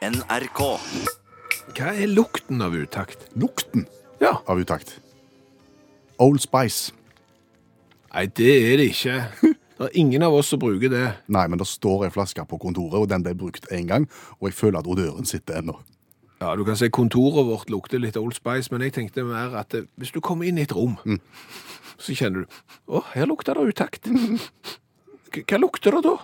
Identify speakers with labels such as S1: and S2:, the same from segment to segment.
S1: NRK.
S2: Hva er lukten av utakt?
S3: Lukten
S2: Ja.
S3: av utakt. Old Spice.
S2: Nei, det er det ikke. Det er ingen av oss som bruker det.
S3: Nei, men det står ei flaske på kontoret, og den ble brukt én gang, og jeg føler at odøren sitter ennå.
S2: Ja, Du kan si kontoret vårt lukter litt Old Spice, men jeg tenkte mer at eh, hvis du kommer inn i et rom, så kjenner du Å, her lukter det utakt. K- Hva lukter det da?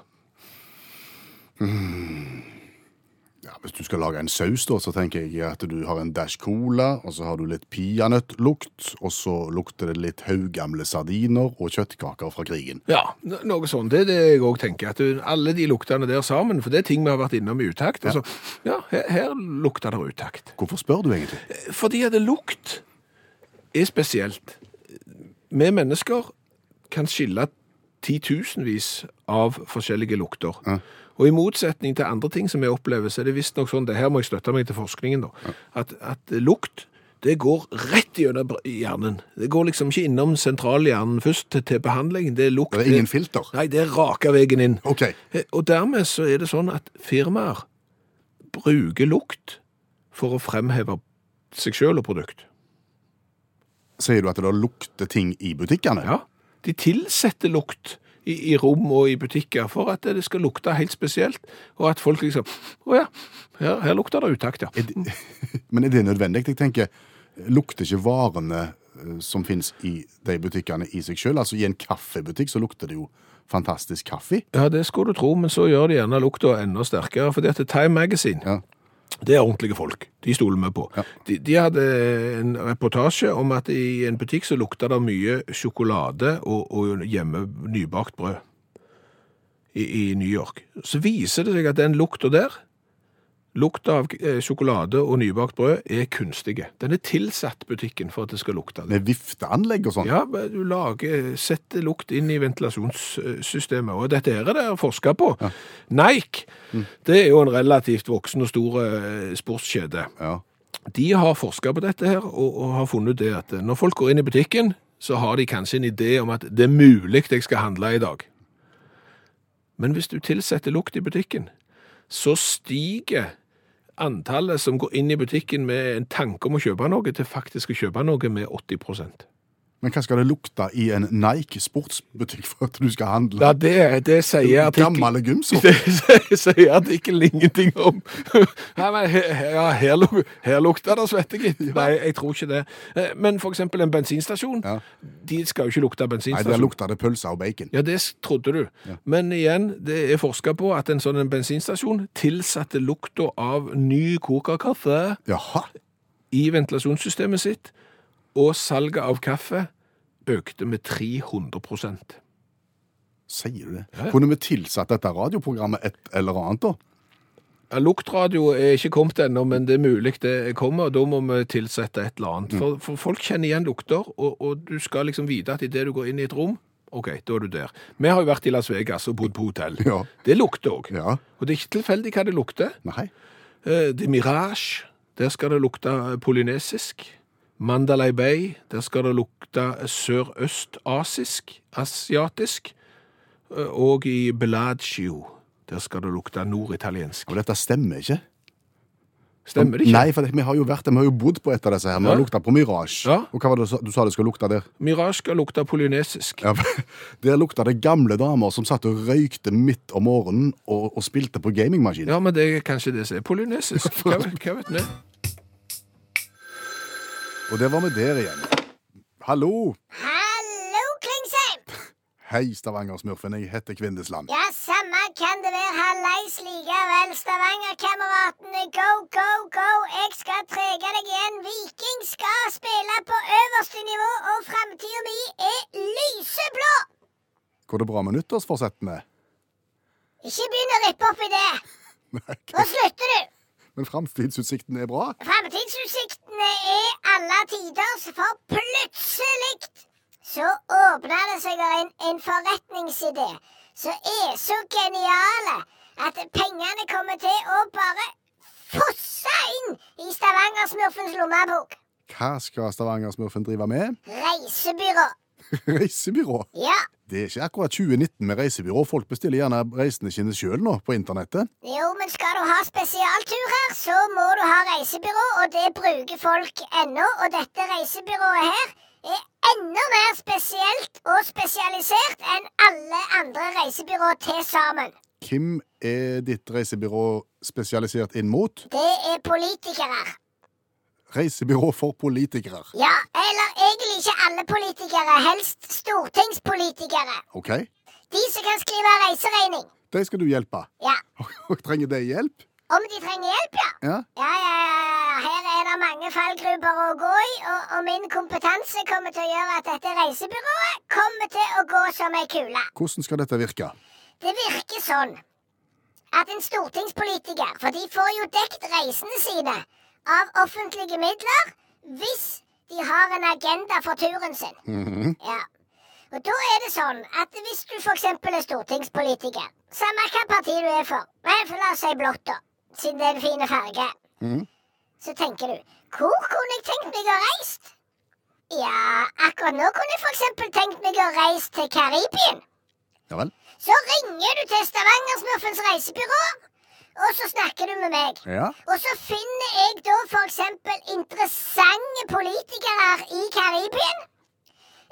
S3: Ja, hvis du skal lage en saus, da, så tenker jeg at du har en dash cola, og så har du litt peanøttlukt, og så lukter det litt haugamle sardiner og kjøttkaker fra krigen.
S2: Ja, n- Noe sånt. Det er det jeg òg tenker. At du, alle de luktene der sammen, for det er ting vi har vært innom i utakt. Ja, altså, ja her, her lukter det utakt.
S3: Hvorfor spør du egentlig?
S2: Fordi at lukt er spesielt. Vi mennesker kan skille titusenvis av forskjellige lukter. Og i motsetning til andre ting som vi opplever, så er det visstnok sånn, det her må jeg støtte meg til forskningen da, at, at lukt, det går rett gjennom br- hjernen. Det går liksom ikke innom sentralhjernen først til, til behandling. Det er lukt.
S3: Det er ingen filter.
S2: Nei, det er raka veien inn.
S3: OK.
S2: Eh, Og dermed så er det sånn at firmaer bruker lukt for å fremheve seg selv og produkt.
S3: Sier du at det lukter ting i butikkene?
S2: Ja, de tilsetter lukt i, i rom og i butikker for at det skal lukte helt spesielt, og at folk liksom, å ja, her, her lukter det utakt, ja.
S3: Men er det nødvendig? Jeg tenker, lukter ikke varene eh, som finnes i de butikkene i seg sjøl? Altså, i en kaffebutikk så lukter det jo fantastisk kaffe.
S2: Ja, det skulle du tro, men så gjør de gjerne lukta enda sterkere, fordi at Time Magazine,
S3: Ja.
S2: det er ordentlige folk, de stoler vi på. De, de hadde en reportasje om at i en butikk så lukta det mye sjokolade og, og hjemme nybakt brød i, i New York. Så viser det seg at den lukta der, lukta av eh, sjokolade og nybakt brød, er kunstige. Den er tilsatt butikken for at det skal lukte det.
S3: Med vifteanlegg og sånn.
S2: Ja, men du lager, setter lukt inn i ventilasjonssystemet, og dette her er det forsket på. Nike, det er jo en relativt voksen og stor eh, sportskjede.
S3: Ja.
S2: De har forsket på dette her, og, og har funnet det at eh, når folk går inn i butikken, så har de kanskje en idé om at det er mulig jeg skal handle i dag. Men hvis du tilsetter lukt i butikken, så stiger antallet som går inn i butikken med en tanke om å kjøpe noe, til faktisk å kjøpe noe med 80 prosent.
S3: Men hva skal det lukte i en Nike sportsbutikk for at du skal handle?
S2: Ja, det, det sier artikkelen
S3: Gammel gymsopp?
S2: det sier artikkelen ingenting om. Nei, men he- he- ja, her, luk, her lukter det svette, gitt. Nei, jeg tror ikke det. Eh, Men for eksempel en bensinstasjon,
S3: Ja.
S2: de skal jo ikke lukte
S3: Nei, der
S2: bensinstasjon.
S3: lukter det pølse og bacon.
S2: Ja, det s- trodde du. Men igjen, det er forska på at en sånn en bensinstasjon tilsatte lukta av ny koka kaffe
S3: Jaha.
S2: i ventilasjonssystemet sitt, og salget av kaffe økte med 300
S3: Sier du det?
S2: ja.
S3: Kunne vi tilsatt dette radioprogrammet et eller annet, da?
S2: Ja, Luktradio er ikke kommet ennå, men det er mulig det kommer, og da må vi tilsette et eller
S3: Mm.
S2: annet. For, for folk kjenner igjen lukter, og, og du skal liksom vite at idet du går inn i et rom, ok, da er du der. Vi har jo vært i Las Vegas og bodd på hotell.
S3: Ja.
S2: Det lukter òg.
S3: Ja.
S2: Og det er ikke tilfeldig hva det lukter.
S3: Nei.
S2: Eh, Det er Mirage, der skal det lukte eh, polynesisk. Mandalay Bay, der skal det lukte eh, sørøstasisk, asiatisk. Eh, Og i Bellagio, der skal det lukte norditaliensk.
S3: Og dette stemmer ikke.
S2: Stemmer det ikke?
S3: Nei, for vi har jo vært der, vi har jo bodd på et av disse her. Vi har
S2: Ja.
S3: lukta på Mirage.
S2: Ja.
S3: Og hva var det du sa- du sa det skulle lukte der?
S2: Mirage skal lukte polynesisk.
S3: Ja, der lukta det gamle damer som satt og røykte midt om morgenen og, og spilte på gamingmaskinen.
S2: Ja, men det er kanskje det som er polynesisk. Hva, hva vet vi?
S3: Og der var vi der igjen. Hallo!
S4: Hallo, Klingsheim!
S3: Hei, Stavanger-smurfen. Jeg heter Kvindesland.
S4: Ja, samme kan det være. Hallais likevel, Stavanger-kameratene. Go, go, go! Jeg skal trege deg igjen. Viking skal spille på øverste nivå, og framtida mi er lyseblå!
S3: Går det bra med nyttårsforsettene?
S4: Ikke begynn å rippe opp i det.
S3: Nei,
S4: Nå slutter du.
S3: Men framtidsutsiktene er bra.
S4: Framtidsutsiktene er alle tiders, for plutselig så åpner det seg en, en forretningsidé som er så geniale at pengene kommer til å bare fosse inn i Stavanger-smurfens lommebok.
S3: Hva skal Stavanger-smurfen drive med?
S4: Reisebyrå.
S3: Reisebyrå.
S4: Ja,
S3: Det er ikke akkurat 2019 med reisebyrå. Folk bestiller gjerne reisene sine sjøl nå på internettet.
S4: Jo, men skal du ha spesialturer, så må du ha reisebyrå, og det bruker folk ennå. Og dette reisebyrået her er enda mer spesielt og spesialisert enn alle andre reisebyrå til sammen.
S3: Hvem er ditt reisebyrå spesialisert inn mot?
S4: Det er politikere.
S3: Reisebyrå for politikere.
S4: Ja, eller egentlig ikke alle politikere, helst stortingspolitikere.
S3: OK?
S4: De som kan skrive reiseregning.
S3: De skal du hjelpe.
S4: Ja.
S3: Og Trenger de hjelp?
S4: Om de trenger hjelp, ja.
S3: Ja?
S4: Ja, ja, ja, ja. Her er det mange fallgruber å gå i, og, og min kompetanse kommer til å gjøre at dette reisebyrået kommer til å gå som ei kule.
S3: Hvordan skal dette virke?
S4: Det virker sånn at en stortingspolitiker, for de får jo dekt reisene sine av offentlige midler hvis de har en agenda for turen sin. Ja. Og da er det sånn at hvis du f.eks. er stortingspolitiker, samme hvilket parti du er for, men for la oss si blått, da, siden det er en fin farge,
S3: Mhm.
S4: så tenker du Hvor kunne jeg tenkt meg å reist? Ja, akkurat nå kunne jeg f.eks. tenkt meg å reise til Karibien.
S3: Ja vel?
S4: Så ringer du til Stavangersmurfens reisebyrå, og så snakker du med meg.
S3: Ja?
S4: Og så finner jeg da f.eks. interessante politikere i Karibien.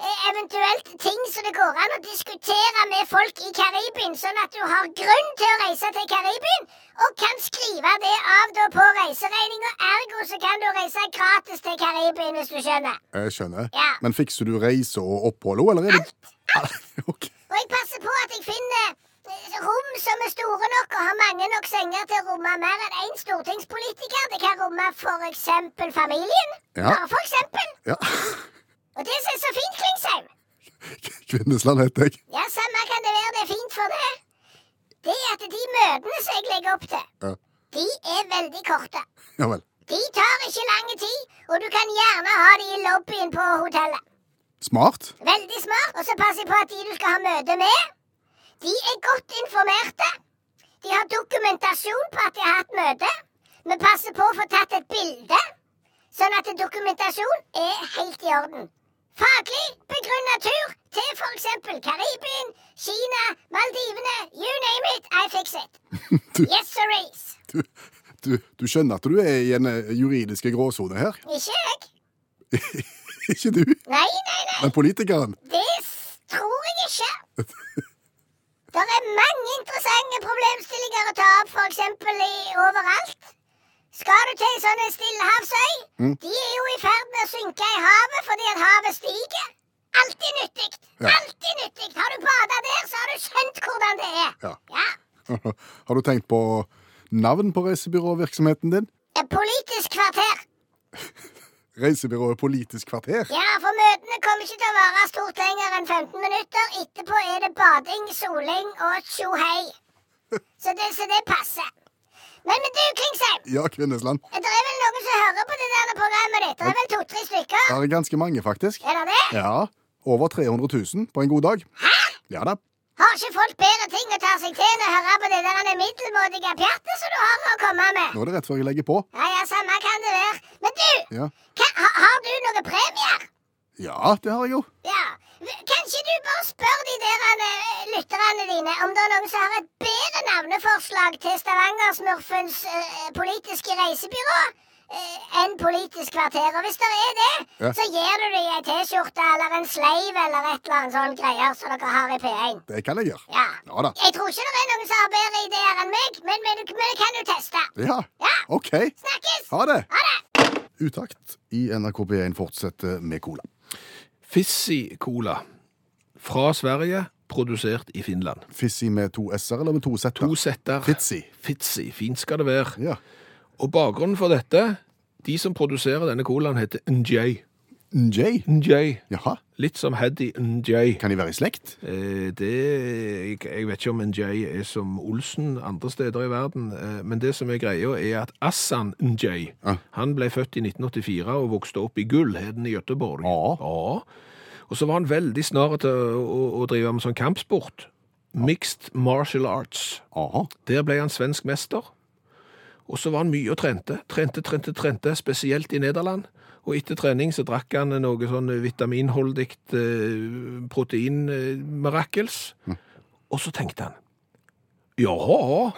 S4: Eh, Eventuelt ting som det går an å diskutere med folk i Karibien, sånn at du har grunn til å reise til Karibien, og kan skrive det av da på reiseregninga. Ergo så kan du reise gratis til Karibien, hvis du skjønner.
S3: Jeg skjønner.
S4: Ja.
S3: Men fikser du reise og opphold òg, eller er det OK.
S4: Og jeg passer på at jeg finner eh, rom som er store nok og har mange nok senger til å romme mer enn én stortingspolitiker. Det kan romme for eksempel familien.
S3: Ja.
S4: Bare for eksempel.
S3: Ja.
S4: Og det som er så fint, Klingsheim
S3: Kvinnesland heter jeg.
S4: Ja, samme kan det være det er fint for det. Det er at de møtene som jeg legger opp til,
S3: Ja.
S4: de er veldig korte.
S3: Ja vel.
S4: De tar ikke lang tid, og du kan gjerne ha de i lobbyen på hotellet.
S3: Smart.
S4: Veldig smart. Og så pass på at de du skal ha møte med, de er godt informerte. De har dokumentasjon på at de har hatt møte. Vi passer på å få tatt et bilde, sånn at dokumentasjon er helt i orden. Faglig begrunnet tur til f.eks. Karibien, Kina, Maldivene, you name it, I fix it.
S3: Du-
S4: Yes, sir, is.
S3: Du, du, du skjønner at du er i en eh, juridiske gråsone her?
S4: Ikke jeg.
S3: Ikke du,
S4: Nei, nei, nei.
S3: men politikeren.
S4: Det s- tror jeg ikke. Det er mange interessante problemstillinger å ta opp, f.eks. overalt. Skal du til sånn sånne stillehavsøy?
S3: Mm.
S4: De er jo i ferd med å synke i havet fordi at havet stiger. Alltid nyttig.
S3: Ja.
S4: Alltid nyttig. Har du bada der, så har du skjønt hvordan det er.
S3: Ja.
S4: ja.
S3: Har du tenkt på navn på reisebyråvirksomheten din?
S4: Et politisk kvarter.
S3: Reisebyrået Politisk kvarter?
S4: Ja, for møtene kommer ikke til å vare stort lenger enn 15 minutter. Etterpå er det bading, soling og tjohei. Så det, så det passer. Men, men du, Klingsheim,
S3: Ja, Kvinnesland.
S4: det er vel noen som hører på det der programmet ditt? Det er vel to-tre stykker?
S3: Det er ganske mange, faktisk.
S4: Er det det?
S3: Ja, over 300 000 på en god dag. Ja da.
S4: Har ikke folk bedre ting å ta seg til enn å høre på det der det middelmådige pjattet som du har å komme med?
S3: Nå er det rett før jeg legger på.
S4: Ja, ja, samme kan det være. Men du,
S3: Ja,
S4: hva, ha, har du noen premier?
S3: ja det har jeg jo.
S4: Ja. Kanskje du bare spør de der eh, lytterne dine om det er noen som har et bedre navneforslag til Stavangersmurfens eh, politiske reisebyrå eh, enn Politisk kvarter. Og hvis det er det,
S3: Ja.
S4: så gir du dem ei T-skjorte eller en sleiv eller et eller annet sånn greier som dere har i P1.
S3: Det kan jeg gjøre.
S4: Ja.
S3: Ja da.
S4: Jeg tror ikke det er noen som har bedre ideer enn meg, men, men, men det kan du teste.
S3: Ja,
S4: Ja.
S3: OK.
S4: Snakkes!
S3: Ha det.
S4: Ha det!
S3: Utakt i NRK P1 fortsetter med cola.
S2: Fissi Cola fra Sverige, produsert i Finland.
S3: Fissi med to s-er eller med to z-er?
S2: To setter.
S3: Fitsi.
S2: Fitsi. Fint skal det være.
S3: Ja.
S2: Og bakgrunnen for dette, de som produserer denne colaen, heter Njay.
S3: Njay.
S2: Njay.
S3: Jaha.
S2: Litt som Heddy Njay.
S3: Kan de være i slekt?
S2: Eh, Det, jeg jeg vet ikke om Njay er som Olsen andre steder i verden, eh, men det som er greia, er at Assan Njay
S3: Ja.
S2: han ble født i 1984 og vokste opp i Gullheden i Gøteborg.
S3: Ja.
S2: Og så var han veldig snar til å, å, å drive med sånn kampsport. Mixed martial arts.
S3: Aha.
S2: Der ble han svensk mester. Og så var han mye og trente. Trente, trente, trente, spesielt i Nederland. Og etter trening så drakk han noe sånn vitaminholdig eh, proteinmirakels. Og så tenkte han Jaha,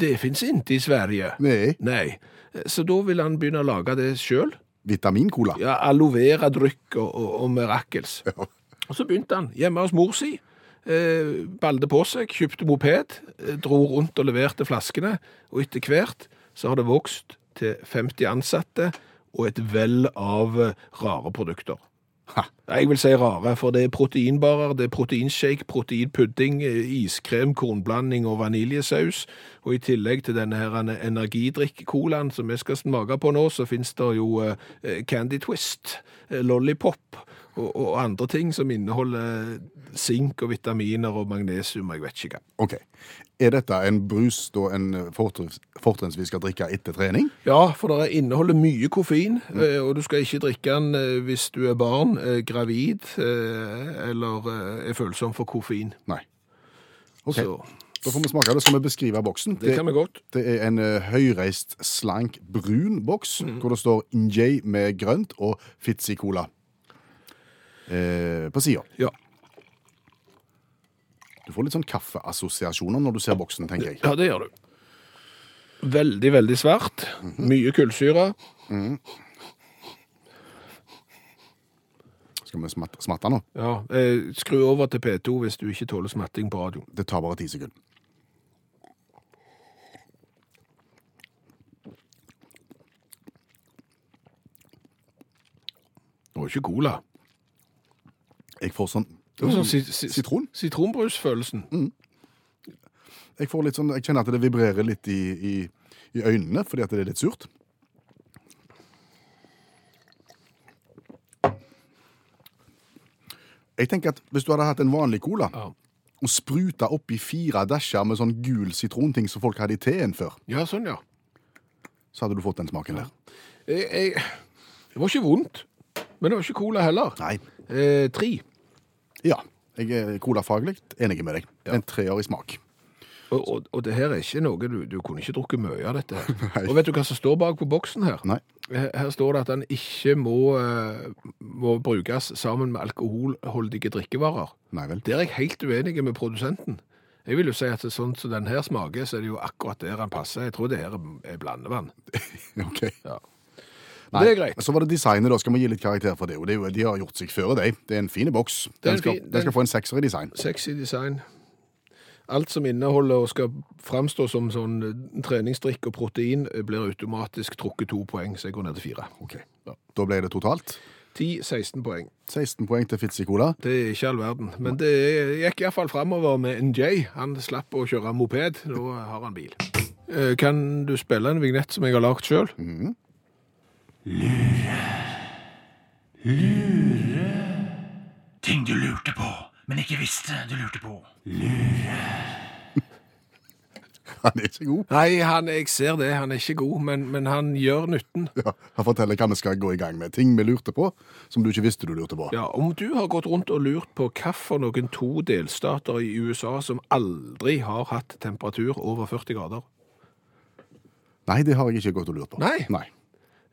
S2: det fins ikke i Sverige.
S3: Nei.
S2: Nei. Så da ville han begynne å lage det sjøl.
S3: Vitamincola.
S2: Ja, aloe vera-drykk og, og, og mirakels. Og så begynte han hjemme hos mor si. Eh, balde på seg, kjøpte moped, eh, dro rundt og leverte flaskene. Og etter hvert så har det vokst til 50 ansatte og et vell av eh, rare produkter.
S3: Ha.
S2: Jeg vil si rare, for det er proteinbarer, det er proteinshake, proteinpudding, eh, iskrem, kornblanding og vaniljesaus. Og i tillegg til denne her eh, energidrikk-colaen som vi skal smake på nå, så finnes det jo eh, eh, Candy Twist, eh, Lollipop og, og andre ting som inneholder sink og vitaminer og magnesium, og jeg vet ikke hva.
S3: Ok. Er dette en brus da en eh, fortrins- fortrinnsvis skal drikke etter trening?
S2: Ja, for det inneholder mye koffein, eh, og du skal ikke drikke den eh, hvis du er barn, eh, gravid eh, eller eh, er følsom for koffein.
S3: Nei. Ok,
S2: Så
S3: Da får vi smake. Da skal vi beskrive boksen.
S2: det kan vi godt.
S3: Det er en eh, høyreist, slank, brun boks,
S2: Mhm.
S3: hvor det står Njay med grønt og Fitzy Cola eh, på sida.
S2: Ja.
S3: Du får litt sånn kaffeassosiasjoner når du ser boksen, tenker jeg.
S2: ja, det gjør du. Veldig, veldig svært. Mye kullsyre.
S3: Skal vi smatte, smatte nå?
S2: Ja, eh, skru over til P2 hvis du ikke tåler smatting på radio.
S3: Det tar bare ti sekunder.
S2: Det var ikke cola.
S3: Jeg får sånn
S2: Det var sånn si- si-
S3: Sitron?
S2: Sitronbrusfølelsen.
S3: Jeg, får litt sånn, jeg kjenner at det vibrerer litt i, i, i øynene fordi at det er litt surt. Jeg tenker at Hvis du hadde hatt en vanlig cola
S2: Ja.
S3: og spruta oppi fire dasher med sånn gul sitronting som folk hadde i teen før,
S2: ja, sånn ja.
S3: så hadde du fått den smaken der.
S2: Jeg, jeg, det var ikke vondt, men det var ikke cola heller.
S3: Nei.
S2: Eh, tre.
S3: Ja. Jeg er colafaglig enig med deg. En treer i smak.
S2: Og, og, og det her er ikke noe du, du kunne ikke drukket mye av dette. her.
S3: Nei.
S2: Og vet du hva som står bak på boksen her?
S3: Nei.
S2: Her her står det at den ikke må, eh, må brukes sammen med alkoholholdige drikkevarer.
S3: Nei vel.
S2: Der er jeg helt uenig med produsenten. Jeg vil jo si at det er sånn som den her smaker, så er det jo akkurat der den passer. Jeg tror det her er- er blandevann.
S3: Ok.
S2: Ja.
S3: Nei.
S2: Det er greit.
S3: Så var det designet, da. Skal vi gi litt karakter for det? Og det er jo, de har gjort seg før, de. Det er en fin boks.
S2: er
S3: Den
S2: en
S3: skal,
S2: fin-
S3: den skal
S2: den-
S3: få en sekser i design.
S2: Sexy design. Alt som inneholder og skal framstå som sånn eh, treningsdrikk og protein, eh, blir automatisk trukket to poeng, så jeg går ned til fire.
S3: Ok.
S2: Ja.
S3: Da ble det totalt
S2: 10-16 poeng.
S3: 16 poeng til Fitzy Cola.
S2: Det er ikke all verden. Men det gikk iallfall framover med NJ. Han slapp å kjøre moped. Nå har han bil. Eh, Kan du spille en vignett som jeg har lagd sjøl?
S3: Mhm.
S1: Ting du lurte på, men ikke visste du lurte på.
S3: Han er ikke god.
S2: Nei, han, jeg ser det. Han er ikke god, men, men han gjør nytten.
S3: Ja, han forteller hva vi skal gå i gang med. Ting vi lurte på, som du ikke visste du lurte på.
S2: Ja, Om du har gått rundt og lurt på hvorfor noen to delstater i USA som aldri har hatt temperatur over 40 grader
S3: Nei, det har jeg ikke gått og lurt på.
S2: Nei.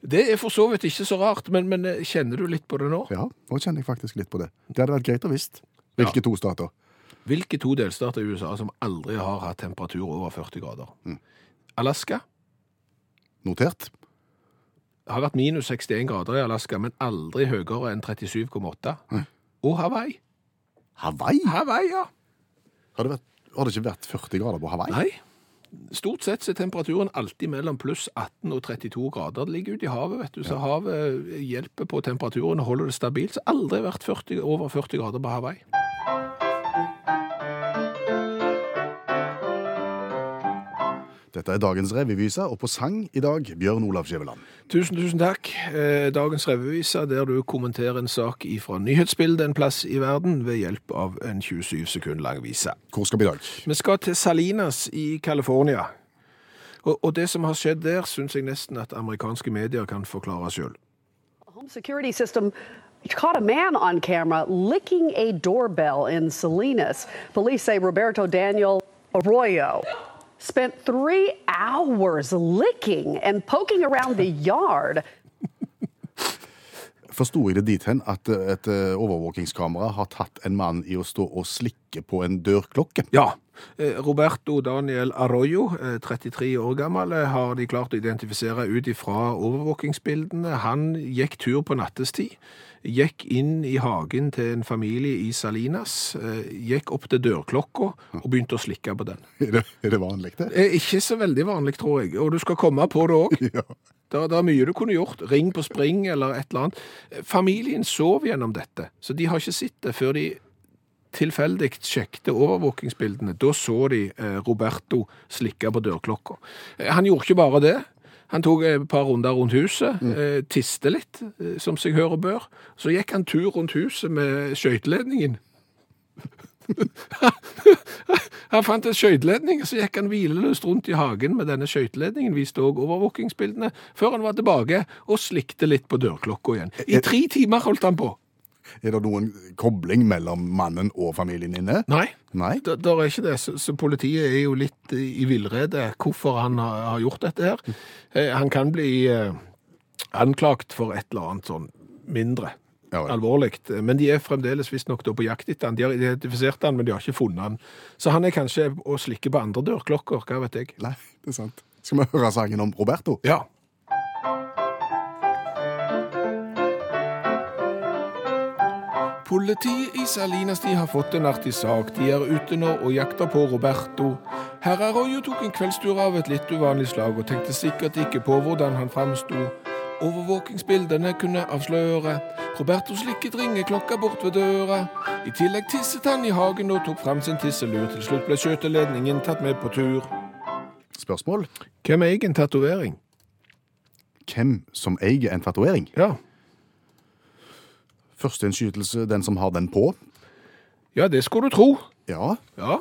S2: Det er for så vidt ikke så rart, men, men eh, kjenner du litt på det nå?
S3: Ja, nå kjenner jeg faktisk litt på det. Det hadde vært greit å visst. Hvilke to stater?
S2: Hvilke to delstater i USA som aldri har hatt temperatur over 40 grader?
S3: Mm.
S2: Alaska
S3: Notert.
S2: har vært minus 61 grader i Alaska, men aldri høyere enn 37,8. Og Hawaii.
S3: Hawaii?
S2: Hawaii, ja.
S3: Har det, vært, har det ikke vært 40 grader på Hawaii?
S2: Nei. Stort sett så er temperaturen alltid mellom pluss 18 og 32 grader. Det ligger ute i havet, vet du, så havet hjelper på temperaturen og holder det stabilt. Så aldri vært 40, over 40 grader på Hawaii.
S3: Dette er dagens revyvise, og på sang i dag Bjørn Olav Skjæveland.
S2: Tusen, tusen takk. Eh, Dagens revyvise der du kommenterer en sak ifra nyhetsbildet en plass i verden ved hjelp av en 27 sekund lang vise.
S3: Hvor skal vi i dag?
S2: Vi skal til Salinas i California. Og, og det som har skjedd der, syns jeg nesten at amerikanske medier kan forklare sjøl.
S5: Home security system caught a man on camera licking a doorbell in Salinas. Police say Roberto Daniel Arroyo spent three hours licking and poking around the yard.
S3: Forsto jeg det dit hen at eh, et eh, overvåkingskamera har tatt en mann i å stå og slikke på en dørklokke?
S2: Ja. Eh, Roberto Daniel Arroyo, eh, 33 år gammel, eh, har de klart å identifisere ut ifra overvåkingsbildene. Han gikk tur på nattestid, gikk inn i hagen til en familie i Salinas, eh, gikk opp til dørklokka og begynte å slikke på den.
S3: Er det, er det vanlig, det?
S2: Eh, Ikke så veldig vanlig, tror jeg, og du skal komme på det òg.
S3: Ja.
S2: Det er mye du kunne gjort. Ring på spring eller et eller annet. Familien sov gjennom dette, så de har ikke sett det før de tilfeldig sjekket overvåkingsbildene. Da så de eh, Roberto slikke på dørklokka. Eh, Han gjorde ikke bare det. Han tok eh, et par runder rundt huset, eh, tiste litt, eh, som seg hører bør. Så gikk han tur rundt huset med skøyteledningen. Han fant en skøyteledning, så gikk han hvileløst rundt i hagen med denne skøyteledningen, viste òg overvåkingsbildene, før han var tilbake og slikte litt på dørklokka igjen. I tre timer holdt han på.
S3: Er det noen kobling mellom mannen og familien inne?
S2: Nei,
S3: Nei?
S2: det det er ikke det. Så, så politiet er jo litt i villrede hvorfor han har, har gjort dette her. Eh, Han kan bli eh, anklagt for et eller annet sånn mindre.
S3: Ja vel.
S2: Alvorlig. Eh, Men de er fremdeles visstnok da på jakt etter han. De har identifisert han, men de har ikke funnet han. Så han er kanskje å slikke på andre dørklokker, hva vet jeg.
S3: Nei, det er sant. Skal vi høre sangen om Roberto?
S2: Ja. Politiet i Salinas de har fått en artig sak. De er ute nå og jakter på Roberto. Herr Arroyo tok en kveldstur av et litt uvanlig slag og tenkte sikkert ikke på hvordan han framsto. Overvåkingsbildene kunne avsløre. Roberto slikket ringeklokka bort ved døra. I tillegg tisset han i hagen og tok fram sin tisselur. Til slutt ble skjøteledningen tatt med på tur.
S3: Spørsmål?
S2: Hvem eier en tatovering?
S3: Hvem som eier en tatovering?
S2: Ja,
S3: Førsteinnskytelse den som har den på?
S2: Ja, det skulle du tro.
S3: Ja.
S2: Ja.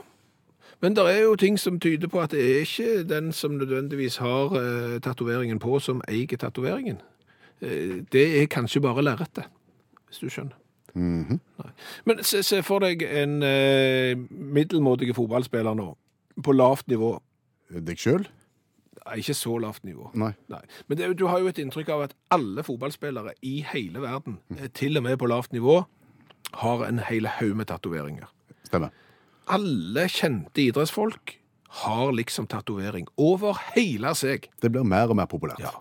S2: Men det er jo ting som tyder på at det er ikke den som nødvendigvis har eh, tatoveringen på, som eier tatoveringen. Eh, det er kanskje bare lerretet, hvis du skjønner. Nei. Men se, se for deg en eh, middelmådig fotballspiller nå, på lavt nivå.
S3: Deg sjøl?
S2: Nei, ikke så lavt nivå.
S3: Nei.
S2: Nei. Men det, er jo- du har jo et inntrykk av at alle fotballspillere i hele verden, eh, til og med på lavt nivå, har en hel haug med tatoveringer.
S3: Stemmer.
S2: Alle kjente idrettsfolk har liksom tatovering over hele seg.
S3: Det blir mer og mer populært.
S2: Ja.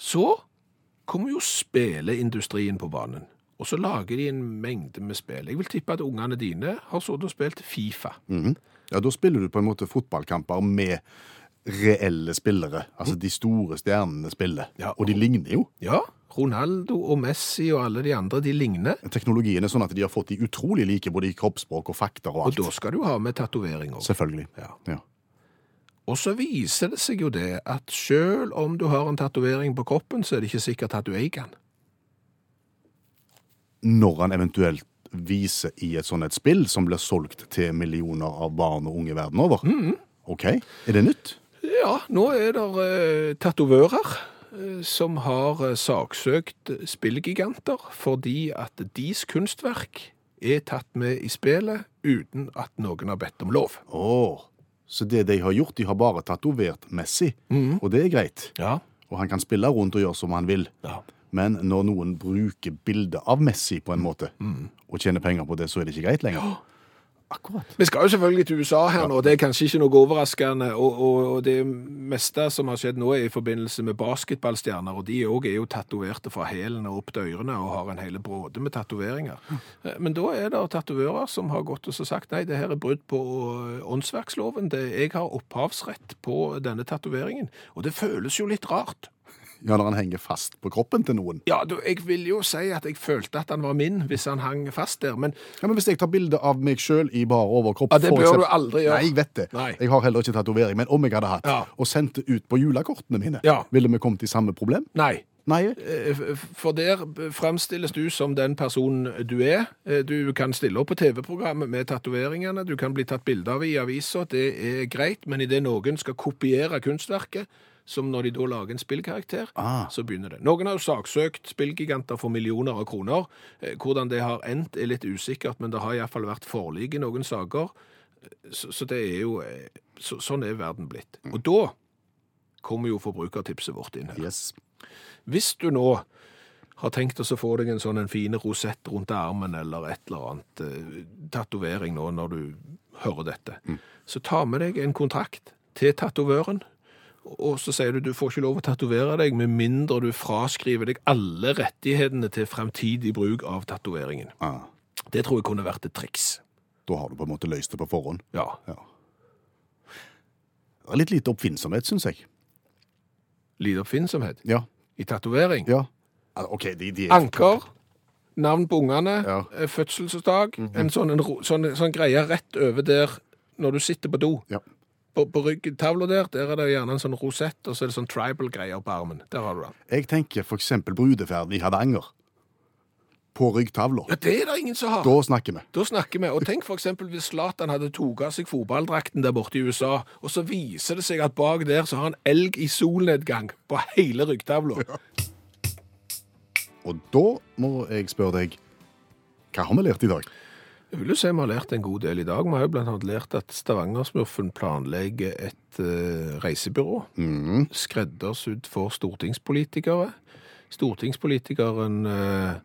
S2: Så kommer jo spilleindustrien på banen, og så lager de en mengde med spill. Jeg vil tippe at ungene dine har sittet og spilt Fifa.
S3: Mhm. ja da spiller du på en måte fotballkamper med reelle spillere. Altså de store stjernene spiller.
S2: Mm. Ja.
S3: Og de ligner jo.
S2: Ja, Ronaldo og Messi og alle de andre, de ligner.
S3: Teknologien er sånn at de har fått de utrolig like både i kroppsspråk og fakter og
S2: Og
S3: alt.
S2: da skal du ha med tatovering også.
S3: Selvfølgelig.
S2: Ja.
S3: Ja.
S2: Og så viser det seg jo det at selv om du har en tatovering på kroppen, så er det ikke sikkert at du eier den.
S3: Når han eventuelt viser i et sånt et spill som blir solgt til millioner av barn og unge verden over.
S2: Mhm.
S3: Ok, Er det nytt?
S2: Ja, nå er det eh, tatovører eh, som har eh, saksøkt spillgiganter fordi at deres kunstverk er tatt med i spillet uten at noen har bedt om lov.
S3: Åh, Så det de har gjort, de har bare tatovert Messi,
S2: Mhm.
S3: og det er greit.
S2: Ja.
S3: Og han kan spille rundt og gjøre som han vil.
S2: Ja.
S3: Men når noen bruker bildet av Messi på en måte,
S2: Mhm.
S3: og tjener penger på det, så er det ikke greit lenger. Akkurat.
S2: Vi skal jo selvfølgelig til USA her nå, det er kanskje ikke noe overraskende. Og, og, og det meste som har skjedd nå er i forbindelse med basketballstjerner, og de òg er jo tatoverte fra hælen og opp til ørene og har en hel bråde med tatoveringer. Eh, Men da er det tatovører som har gått og så sagt nei, det her er brudd på eh, åndsverksloven, det, jeg har opphavsrett på denne tatoveringen. Og det føles jo litt rart.
S3: Ja, når han henger fast på kroppen til noen.
S2: Ja, du, jeg vil jo si at jeg følte at han var min hvis han hang fast der, men
S3: Ja, men Hvis jeg tar bilde av meg sjøl i bare overkropp
S2: Ja, det
S3: for
S2: bør
S3: eksempel-
S2: du aldri gjøre.
S3: Nei, jeg vet det.
S2: Nei.
S3: Jeg har heller ikke tatovering. Men om jeg hadde hatt,
S2: Ja.
S3: og sendt det ut på julekortene mine,
S2: Ja.
S3: ville vi kommet i samme problem?
S2: nei.
S3: Nei.
S2: Eh, f- For der b- fremstilles du som den personen du er. Eh, Du kan stille opp på TV-programmet med tatoveringene, du kan bli tatt bilde av i aviser, det er greit, men idet noen skal kopiere kunstverket, som når de da lager en spillkarakter,
S3: Ah.
S2: så begynner det. Noen har jo saksøkt spillgiganter for millioner av kroner. Eh, Hvordan det har endt er litt usikkert, men det har iallfall vært forlik i noen saker. Så, så det er jo eh, så, Sånn er verden blitt. Og da kommer jo forbrukertipset vårt inn her.
S3: Yes.
S2: Hvis du nå har tenkt oss å få deg en sånn en fin rosett rundt armen eller et eller annet eh, tatovering nå når du hører dette, så ta med deg en kontrakt til tatovøren, og så sier du du får ikke lov å tatovere deg med mindre du fraskriver deg alle rettighetene til fremtidig bruk av tatoveringen.
S3: Ah,
S2: Det tror jeg kunne vært et triks.
S3: da har du på en måte løst det på forhånd.
S2: Ja.
S3: Ja. Det er litt lite oppfinnsomhet, syns jeg.
S2: Lite oppfinnsomhet
S3: Ja.
S2: i tatovering.
S3: ja. Al- OK, de, de er
S2: Anker, navn på ungene,
S3: Ja. Mhm.
S2: eh, fødselsdag, en sånn, en, ro- sånn, sånn greie rett over der når du sitter på do.
S3: Ja.
S2: På, på ryggtavla der, der er det gjerne en sånn rosett, og så er det sånn tribal-greier på armen. Der har du den.
S3: Jeg tenker for eksempel brudeferd i Hardanger. På ryggtavla.
S2: Ja, det er det ingen som har.
S3: Da snakker vi.
S2: Da snakker vi, og tenk for eksempel hvis Zlatan hadde toget av seg fotballdrakten der borte i USA, og så viser det seg at bak der så har han elg i solnedgang på hele ryggtavla.
S3: Og da må jeg spørre deg hva har vi lært i dag?
S2: Jeg vil jo si vi har lært en god del i dag. Vi har jo blant annet lært at Stavangersmurfen planlegger et eh, reisebyrå. Skreddersydd for stortingspolitikere. Stortingspolitikeren eh,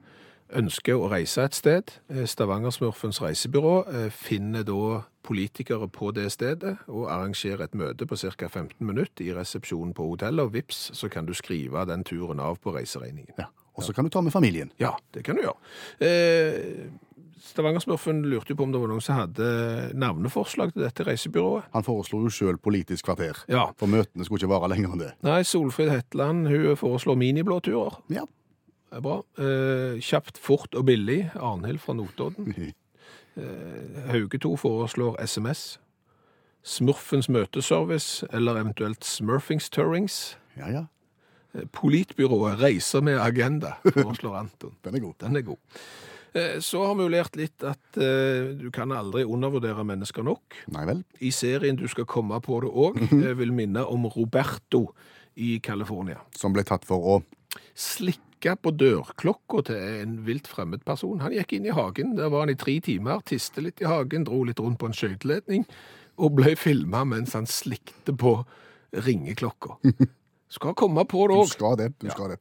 S2: ønsker å reise et sted. Eh, Stavangersmurfens reisebyrå eh, finner da politikere på det stedet og arrangerer et møte på ca. 15 minutter i resepsjonen på hotellet, og vips, så kan du skrive den turen av på reiseregningen.
S3: Ja. Og så kan du ta med familien.
S2: Ja, det kan du gjøre. Eh, Stavangersmurfen lurte jo på om det var noen som hadde navneforslag til dette reisebyrået.
S3: Han foreslo jo sjøl politisk kvarter.
S2: Ja.
S3: For møtene skulle ikke vare lenger enn det.
S2: Nei, Solfrid Hetland hun foreslår miniblåturer.
S3: Ja.
S2: Det er bra. Eh, kjapt, fort og billig. Arnhild fra Notodden. Hauge 2 foreslår SMS. Smurfens møteservice, eller eventuelt Smurfings Turrings.
S3: Ja, ja.
S2: Eh, Politbyrået reiser med agenda, foreslår Anton.
S3: Den er god.
S2: Den er god. Eh, Så har vi jo lært litt at eh, du kan aldri undervurdere mennesker nok.
S3: Nei vel.
S2: I serien du skal komme på det òg,
S3: Mhm.
S2: vil minne om Roberto i California.
S3: Som ble tatt for å
S2: Slikka på dørklokka til en vilt fremmed person. Han gikk inn i hagen, der var han i tre timer, tiste litt i hagen, dro litt rundt på en skøyteledning, og ble filma mens han slikte på ringeklokka. Skal komme på det
S3: Du
S2: òg.
S3: skal det. Du skal det.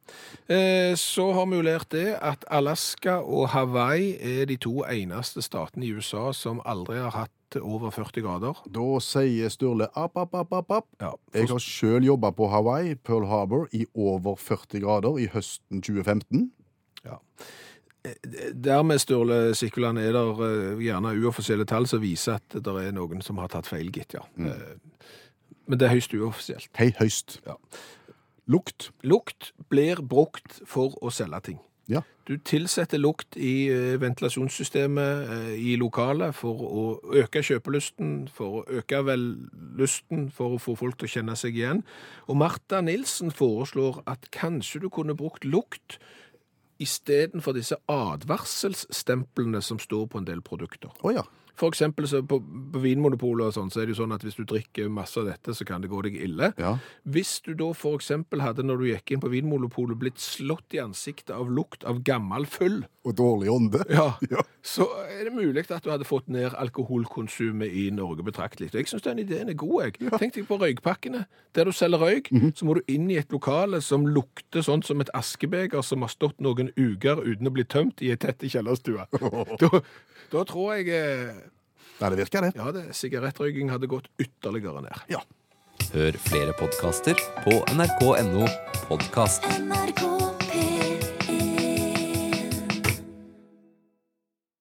S2: Eh, Så har vi jo lært det at Alaska og Hawaii er de to eneste statene i USA som aldri har hatt over 40 grader.
S3: Da sier Sturle app, app, app, app, app.
S2: Ja,
S3: Jeg har sjøl jobba på Hawaii, Pearl Harbor, i over 40 grader i høsten 2015.
S2: Dermed, Sturle Sikkeland, er det gjerne uoffisielle tall som viser at det er noen som har tatt feil, gitt, ja. Eh, Men det er høyst uoffisielt.
S3: Hei, høst.
S2: Ja.
S3: Lukt.
S2: Lukt blir brukt for å selge ting.
S3: Ja.
S2: Du tilsetter lukt i eh, ventilasjonssystemet eh, i lokalet for å øke kjøpelysten, for å øke vellysten, for å få folk til å kjenne seg igjen. Og Martha Nilsen foreslår at kanskje du kunne brukt lukt istedenfor disse advarselstemplene som står på en del produkter.
S3: Å ja.
S2: For eksempel så på, på Vinmonopolet og sånn, så er det jo sånn at hvis du drikker masse av dette, så kan det gå deg ille.
S3: Ja.
S2: Hvis du da for eksempel hadde, når du gikk inn på Vinmonopolet, blitt slått i ansiktet av lukt av gammel fyll,
S3: Og dårlig ånde.
S2: ja,
S3: Ja.
S2: så er det mulig at du hadde fått ned alkoholkonsumet i Norge betraktelig. Og Jeg syns den ideen er god, jeg. Tenk deg på røykpakkene. Der du selger røyk, så må du inn i et lokale som lukter sånn som et askebeger som har stått noen uker uten å bli tømt i ei tett kjellerstue. da, da tror jeg eh,
S3: Nei, det virker, det.
S2: ja, det, sigarettrøyking hadde gått ytterligere ned.
S3: Ja.
S6: Hør flere podkaster på nrk.no podkast.
S7: NRK